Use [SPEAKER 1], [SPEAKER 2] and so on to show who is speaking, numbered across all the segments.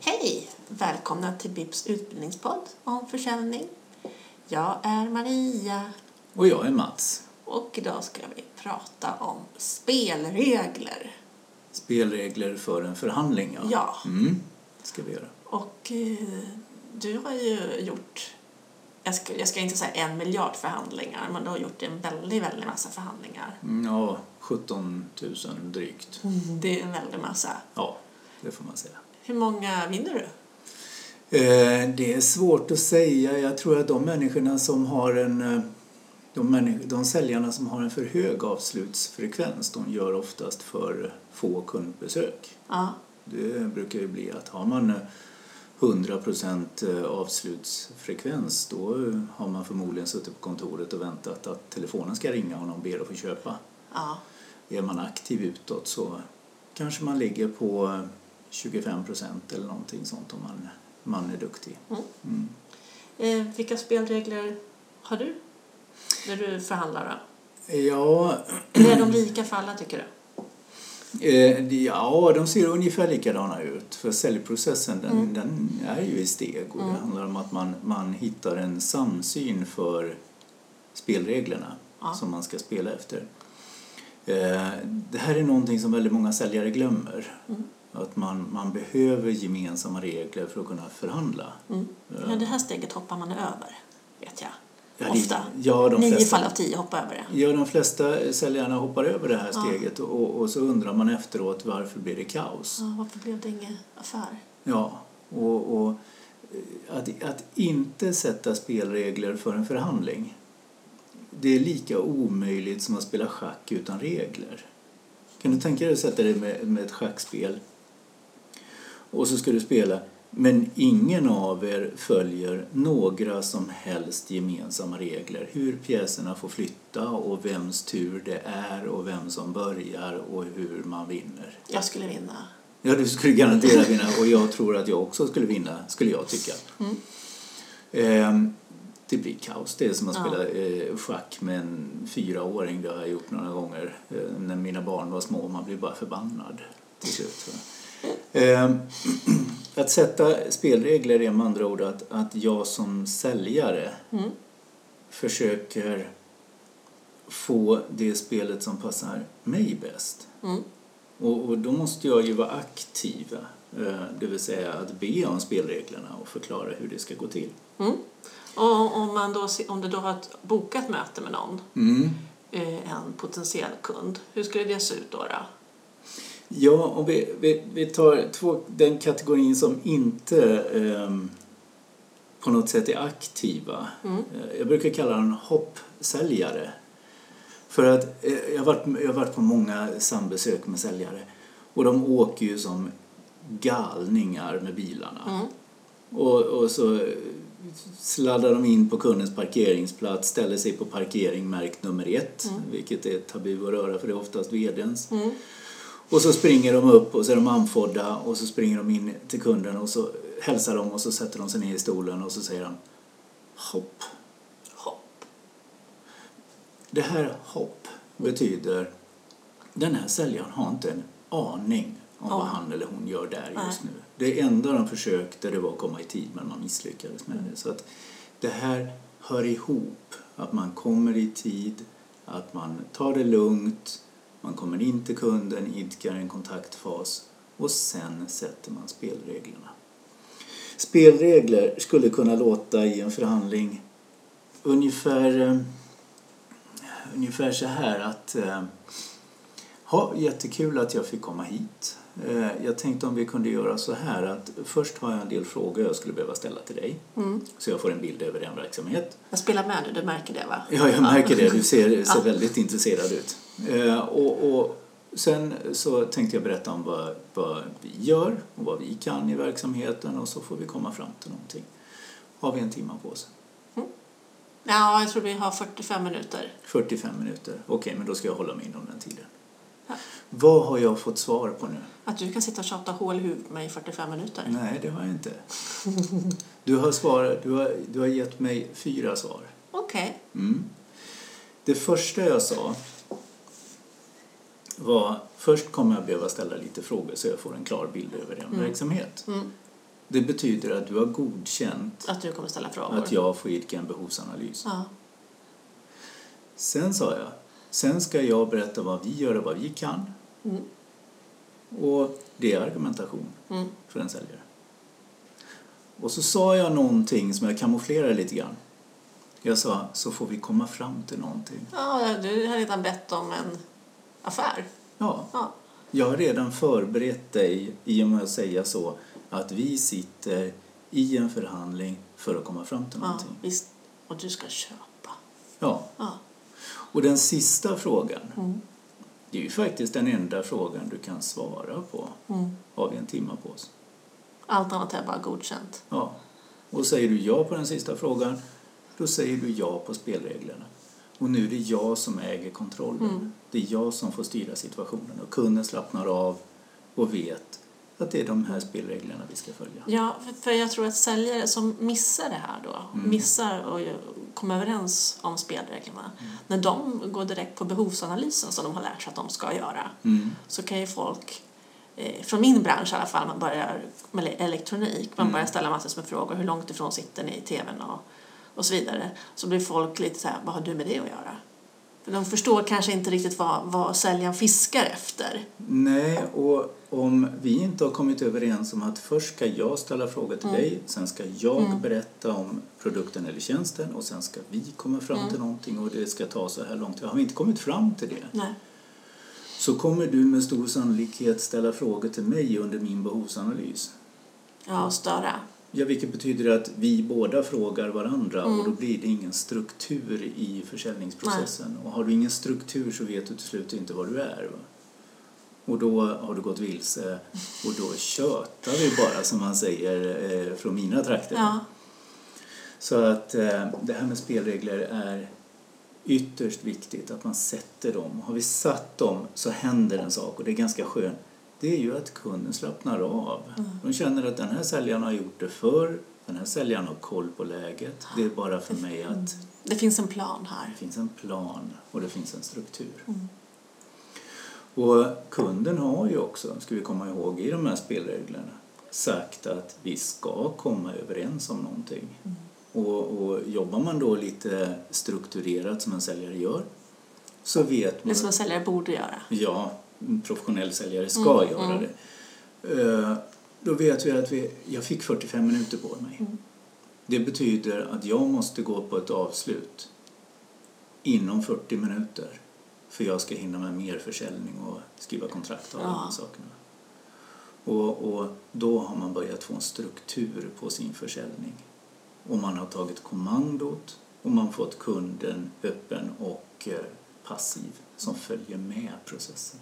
[SPEAKER 1] Hej! Välkomna till BIPs utbildningspodd om försäljning. Jag är Maria
[SPEAKER 2] Och jag är Mats.
[SPEAKER 1] och idag ska vi prata om spelregler.
[SPEAKER 2] Spelregler för en förhandling. Ja.
[SPEAKER 1] Ja,
[SPEAKER 2] Mm, det ska vi göra.
[SPEAKER 1] och eh, du har ju gjort, jag ska, jag ska inte säga en miljard förhandlingar, men du har gjort en väldigt, väldigt massa förhandlingar.
[SPEAKER 2] Mm, Ja, 17 000 drygt.
[SPEAKER 1] Det är en väldig massa.
[SPEAKER 2] Ja, det får man säga.
[SPEAKER 1] Hur många vinner du?
[SPEAKER 2] Eh, Det är svårt att säga. Jag tror att de människorna som har en... eh, De, människ- de säljarna som har en för hög avslutsfrekvens, de gör oftast för få kundbesök.
[SPEAKER 1] Ja,
[SPEAKER 2] Det brukar ju bli att har man eh, 100% eh, avslutsfrekvens då eh, har man förmodligen suttit på kontoret och väntat att telefonen ska ringa och någon ber att få köpa.
[SPEAKER 1] ja,
[SPEAKER 2] Är man aktiv utåt så kanske man ligger på eh, 25% eller någonting sånt om man, man är duktig.
[SPEAKER 1] Mm.
[SPEAKER 2] Mm.
[SPEAKER 1] Eh, vilka spelregler har du när du förhandlar
[SPEAKER 2] Ja,
[SPEAKER 1] då? Eller är de lika för alla tycker du?
[SPEAKER 2] Eh, de- Ja, de ser ungefär likadana ut. För säljprocessen den,
[SPEAKER 1] Mm.
[SPEAKER 2] den är ju i steg och det handlar om att man, man hittar en samsyn för spelreglerna
[SPEAKER 1] Ja.
[SPEAKER 2] som man ska spela efter. Eh, Det här är någonting som väldigt många säljare glömmer.
[SPEAKER 1] Mm.
[SPEAKER 2] Att man, man behöver gemensamma regler för att kunna förhandla.
[SPEAKER 1] Ja, det här steget hoppar man över, vet jag.
[SPEAKER 2] Ja, det-
[SPEAKER 1] Ofta.
[SPEAKER 2] ja, de
[SPEAKER 1] Nio
[SPEAKER 2] flesta-
[SPEAKER 1] fall av tio hoppar över det.
[SPEAKER 2] Ja, de flesta säljarna hoppar över det här steget och, och så undrar man efteråt varför blir det kaos?
[SPEAKER 1] Ja, varför blev det ingen affär?
[SPEAKER 2] Ja, och, och eh, att, att inte sätta spelregler för en förhandling det är lika omöjligt som att spela schack utan regler. Kan du tänka dig att sätta dig med, med ett schackspel och så ska du spela men ingen av er följer några som helst gemensamma regler. Hur pjäserna får flytta och vems tur det är och vem som börjar och hur man vinner.
[SPEAKER 1] Jag skulle vinna.
[SPEAKER 2] Ja, du skulle garanterat vinna och jag tror att jag också skulle vinna, skulle jag tycka. Ehm, det blir kaos. Det är som att
[SPEAKER 1] Ja.
[SPEAKER 2] spela eh, schack med en fyraåring. Det har jag gjort några gånger eh, när mina barn var små. Man blir bara förbannad till slut. va. Ehm, att sätta spelregler är med andra ord att, att jag som säljare
[SPEAKER 1] Mm,
[SPEAKER 2] försöker få det spelet som passar mig bäst.
[SPEAKER 1] Mm.
[SPEAKER 2] Och, och då måste jag ju vara aktiv, eh, det vill säga att be om spelreglerna och förklara hur det ska gå till.
[SPEAKER 1] Mm. Och om, man då, se- om du då har ett bokat möte med någon, eh, en potentiell kund, hur skulle det se ut då? då?
[SPEAKER 2] Ja, om vi, vi, vi tar två, den kategorin som inte ehm, på något sätt är aktiva. Eh, Jag brukar kalla den hoppsäljare. För att eh, jag har varit, jag har varit på många sambesök med säljare och de åker ju som galningar med bilarna. Och, och så sladdar de in på kundens parkeringsplats, ställer sig på parkering märkt nummer ett, vilket är tabu att röra för det är oftast VDns. Och så springer de upp och så är de andfådda och så springer de in till kunden och så hälsar de och så sätter de sig ner i stolen och så säger de hopp.
[SPEAKER 1] Hopp.
[SPEAKER 2] Det här hopp betyder den här säljaren har inte en aning om vad
[SPEAKER 1] Ja.
[SPEAKER 2] han eller hon gör där just
[SPEAKER 1] Nej.
[SPEAKER 2] nu. Det enda de försökte det var att komma i tid men man misslyckades med det. Så att det här hör ihop. Att man kommer i tid, att man tar det lugnt, man kommer in till kunden, idkar en kontaktfas och sen sätter man spelreglerna. Spelregler skulle kunna låta i en förhandling ungefär, eh, ungefär så här att eh, ha, jättekul att jag fick komma hit. Eh, Jag tänkte om vi kunde göra så här att först har jag en del frågor jag skulle behöva ställa till dig
[SPEAKER 1] Mm.
[SPEAKER 2] så jag får en bild över din verksamhet.
[SPEAKER 1] Jag spelar med dig, du märker det va?
[SPEAKER 2] Ja, jag märker det. Du ser, ser väldigt intresserad ut. Eh, och, och sen så tänkte jag berätta om vad, vad vi gör och vad vi kan i verksamheten och så får vi komma fram till någonting. Har vi en timme på oss?
[SPEAKER 1] Ja, jag tror vi har 45 minuter.
[SPEAKER 2] 45 minuter. Okej, men då ska jag hålla mig inom den tiden.
[SPEAKER 1] Ja.
[SPEAKER 2] Vad har jag fått svar på nu?
[SPEAKER 1] Att du kan sitta och tjata hål i huvudet på mig i 45 minuter.
[SPEAKER 2] Nej, det har jag inte. Du har, svar, du har, du har gett mig fyra svar.
[SPEAKER 1] Okej.
[SPEAKER 2] Mm. Det första jag sa
[SPEAKER 1] Mm.
[SPEAKER 2] var först kommer jag behöva ställa lite frågor så jag får en klar bild över din verksamhet. Det betyder att du har godkänt
[SPEAKER 1] Att du kommer ställa frågor.
[SPEAKER 2] att jag får idka en behovsanalys.
[SPEAKER 1] Ja.
[SPEAKER 2] Sen sa jag, sen ska jag berätta vad vi gör och vad vi kan.
[SPEAKER 1] Mm.
[SPEAKER 2] Och det är argumentation
[SPEAKER 1] Mm.
[SPEAKER 2] för en säljare. Och så sa jag någonting som jag kamouflerade lite grann. Jag sa, så får vi komma fram till någonting.
[SPEAKER 1] ja, du har redan bett om en affär.
[SPEAKER 2] Ja,
[SPEAKER 1] Ja.
[SPEAKER 2] jag har redan förberett dig i och med att säga så att vi sitter i en förhandling för att komma fram till
[SPEAKER 1] ja
[SPEAKER 2] någonting.
[SPEAKER 1] visst. Och du ska köpa.
[SPEAKER 2] Ja.
[SPEAKER 1] Ja.
[SPEAKER 2] Och den sista frågan,
[SPEAKER 1] Mm.
[SPEAKER 2] det är ju faktiskt den enda frågan du kan svara på.
[SPEAKER 1] Mm.
[SPEAKER 2] Har vi en timme på oss?
[SPEAKER 1] Allt annat är bara godkänt.
[SPEAKER 2] Ja. Och säger du ja på den sista frågan, då säger du ja på spelreglerna. Och nu är det jag som äger kontrollen.
[SPEAKER 1] Mm.
[SPEAKER 2] Det är jag som får styra situationen. Och kunden slappnar av och vet att det är de här spelreglerna vi ska följa.
[SPEAKER 1] Ja, för- för jag tror att säljare som missar det här då,
[SPEAKER 2] Mm.
[SPEAKER 1] missar och ju- kommer överens om spelreglerna, när de går direkt på behovsanalysen som de har lärt sig att de ska göra,
[SPEAKER 2] Mm.
[SPEAKER 1] så kan ju folk, eh, från min bransch i alla fall, man börjar med le- elektronik, man
[SPEAKER 2] Mm.
[SPEAKER 1] börjar ställa massor med frågor, hur långt ifrån sitter ni i tvn och, och så vidare, så blir folk lite så här, vad har du med det att göra? För de förstår kanske inte riktigt vad, vad säljaren fiskar efter.
[SPEAKER 2] Nej, och om vi inte har kommit överens om att först ska jag ställa frågor till
[SPEAKER 1] Mm.
[SPEAKER 2] dig, sen ska jag
[SPEAKER 1] Mm.
[SPEAKER 2] berätta om produkten eller tjänsten och sen ska vi komma fram till
[SPEAKER 1] Mm.
[SPEAKER 2] någonting och det ska ta så här långt. Har vi inte kommit fram till det
[SPEAKER 1] Nej.
[SPEAKER 2] så kommer du med stor sannolikhet ställa frågor till mig under min behovsanalys.
[SPEAKER 1] Ja, och störa.
[SPEAKER 2] Ja, vilket betyder att vi båda frågar varandra
[SPEAKER 1] Mm.
[SPEAKER 2] och då blir det ingen struktur i försäljningsprocessen. Och har du ingen struktur så vet du till slut inte var du är. Va? Och då har du gått vilse och då tjötar vi bara som man säger eh, från mina trakter.
[SPEAKER 1] Ja.
[SPEAKER 2] Så att eh, det här med spelregler är ytterst viktigt att man sätter dem. Har vi satt dem så händer en sak och det är ganska skönt. Det är ju att kunden slappnar av. De känner att den här säljaren har gjort det förr, den här säljaren har koll på läget. Det är bara för mig
[SPEAKER 1] Mm.
[SPEAKER 2] att
[SPEAKER 1] Det finns en plan här.
[SPEAKER 2] det finns en plan och det finns en struktur.
[SPEAKER 1] Mm.
[SPEAKER 2] Och kunden har ju också, ska vi komma ihåg, i de här spelreglerna sagt att vi ska komma överens om någonting.
[SPEAKER 1] Mm.
[SPEAKER 2] Och, och jobbar man då lite strukturerat som en säljare gör så vet
[SPEAKER 1] Det
[SPEAKER 2] man...
[SPEAKER 1] är som en säljare borde göra.
[SPEAKER 2] Ja, en professionell säljare ska
[SPEAKER 1] Mm,
[SPEAKER 2] göra
[SPEAKER 1] mm.
[SPEAKER 2] det. Eh, Då vet vi att vi, jag fick 45 minuter på mig. Det betyder att jag måste gå på ett avslut inom 40 minuter för jag ska hinna med mer försäljning och skriva kontrakt och alla
[SPEAKER 1] Ja.
[SPEAKER 2] de sakerna. Och, och då har man börjat få en struktur på sin försäljning. Och man har tagit kommandot och man fått kunden öppen och eh, passiv som följer med processen.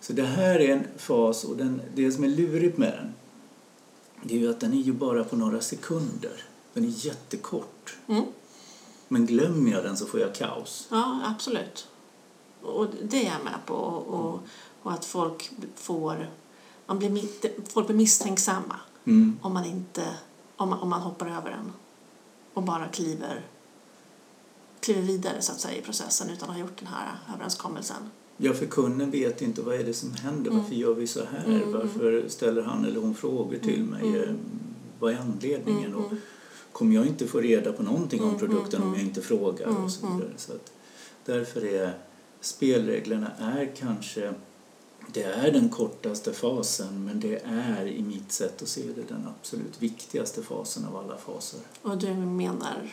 [SPEAKER 2] Så det här är en fas och den, det som är lurigt med den det är ju att den är ju bara på några sekunder. Den är jättekort.
[SPEAKER 1] Mm.
[SPEAKER 2] Men glömmer jag den så får jag kaos.
[SPEAKER 1] Ja, absolut. Och det är jag med på. Och, och, och att folk får... Man blir, mitt- folk blir misstänksamma
[SPEAKER 2] Mm.
[SPEAKER 1] om man, inte, om, man, om man hoppar över den och bara kliver, kliver vidare så att säga, i processen utan att ha gjort den här överenskommelsen.
[SPEAKER 2] Ja, för kunden vet inte vad är det som händer. Varför gör vi så här?
[SPEAKER 1] Mm,
[SPEAKER 2] Varför ställer han eller hon frågor till mig? Eh, Vad är anledningen?
[SPEAKER 1] Mm,
[SPEAKER 2] Och kommer jag inte få reda på någonting om produkten om jag inte frågar?
[SPEAKER 1] Mm,
[SPEAKER 2] och så vidare. Så att därför är spelreglerna är kanske det är den kortaste fasen men det är i mitt sätt att se det den absolut viktigaste fasen av alla faser.
[SPEAKER 1] Och du menar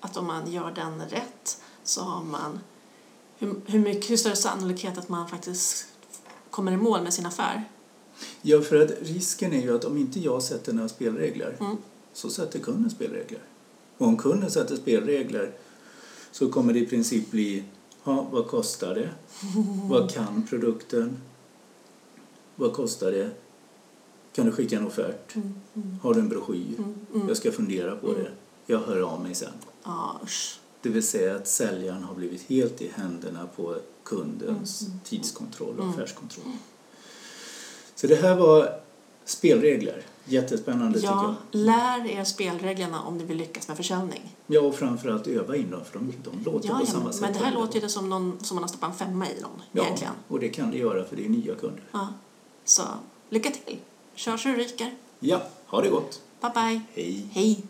[SPEAKER 1] att om man gör den rätt så har man hur, hur mycket hur större sannolikhet att man faktiskt kommer i mål med sin affär?
[SPEAKER 2] Ja, för att risken är ju att om inte jag sätter några spelregler
[SPEAKER 1] Mm.
[SPEAKER 2] så sätter kunden spelregler. Och om kunden sätter spelregler så kommer det i princip bli ja, vad kostar det? Vad kan produkten? Vad kostar det? Kan du skicka en offert? Har du en broschyr?
[SPEAKER 1] Mm.
[SPEAKER 2] Jag ska fundera på det. Jag hör av mig sen.
[SPEAKER 1] Ja, usch.
[SPEAKER 2] Det vill säga att säljaren har blivit helt i händerna på kundens
[SPEAKER 1] Mm,
[SPEAKER 2] tidskontroll och affärskontroll. Så det här var spelregler. Jättespännande tycker jag. Mm.
[SPEAKER 1] Ja, lär er spelreglerna om ni vill lyckas med försäljning.
[SPEAKER 2] Ja, och framförallt öva in dem för de, de låter
[SPEAKER 1] Ja,
[SPEAKER 2] på
[SPEAKER 1] ja,
[SPEAKER 2] samma
[SPEAKER 1] men,
[SPEAKER 2] sätt.
[SPEAKER 1] men det här låter ju det som, någon, som man har stoppat en femma i någon
[SPEAKER 2] ja,
[SPEAKER 1] egentligen.
[SPEAKER 2] och det kan det göra för det är nya kunder.
[SPEAKER 1] Ja. Så lycka till!
[SPEAKER 2] Kör så det ryker.
[SPEAKER 1] Ja, ha det gott.
[SPEAKER 2] Bye, bye.
[SPEAKER 1] Hej.
[SPEAKER 2] Hej.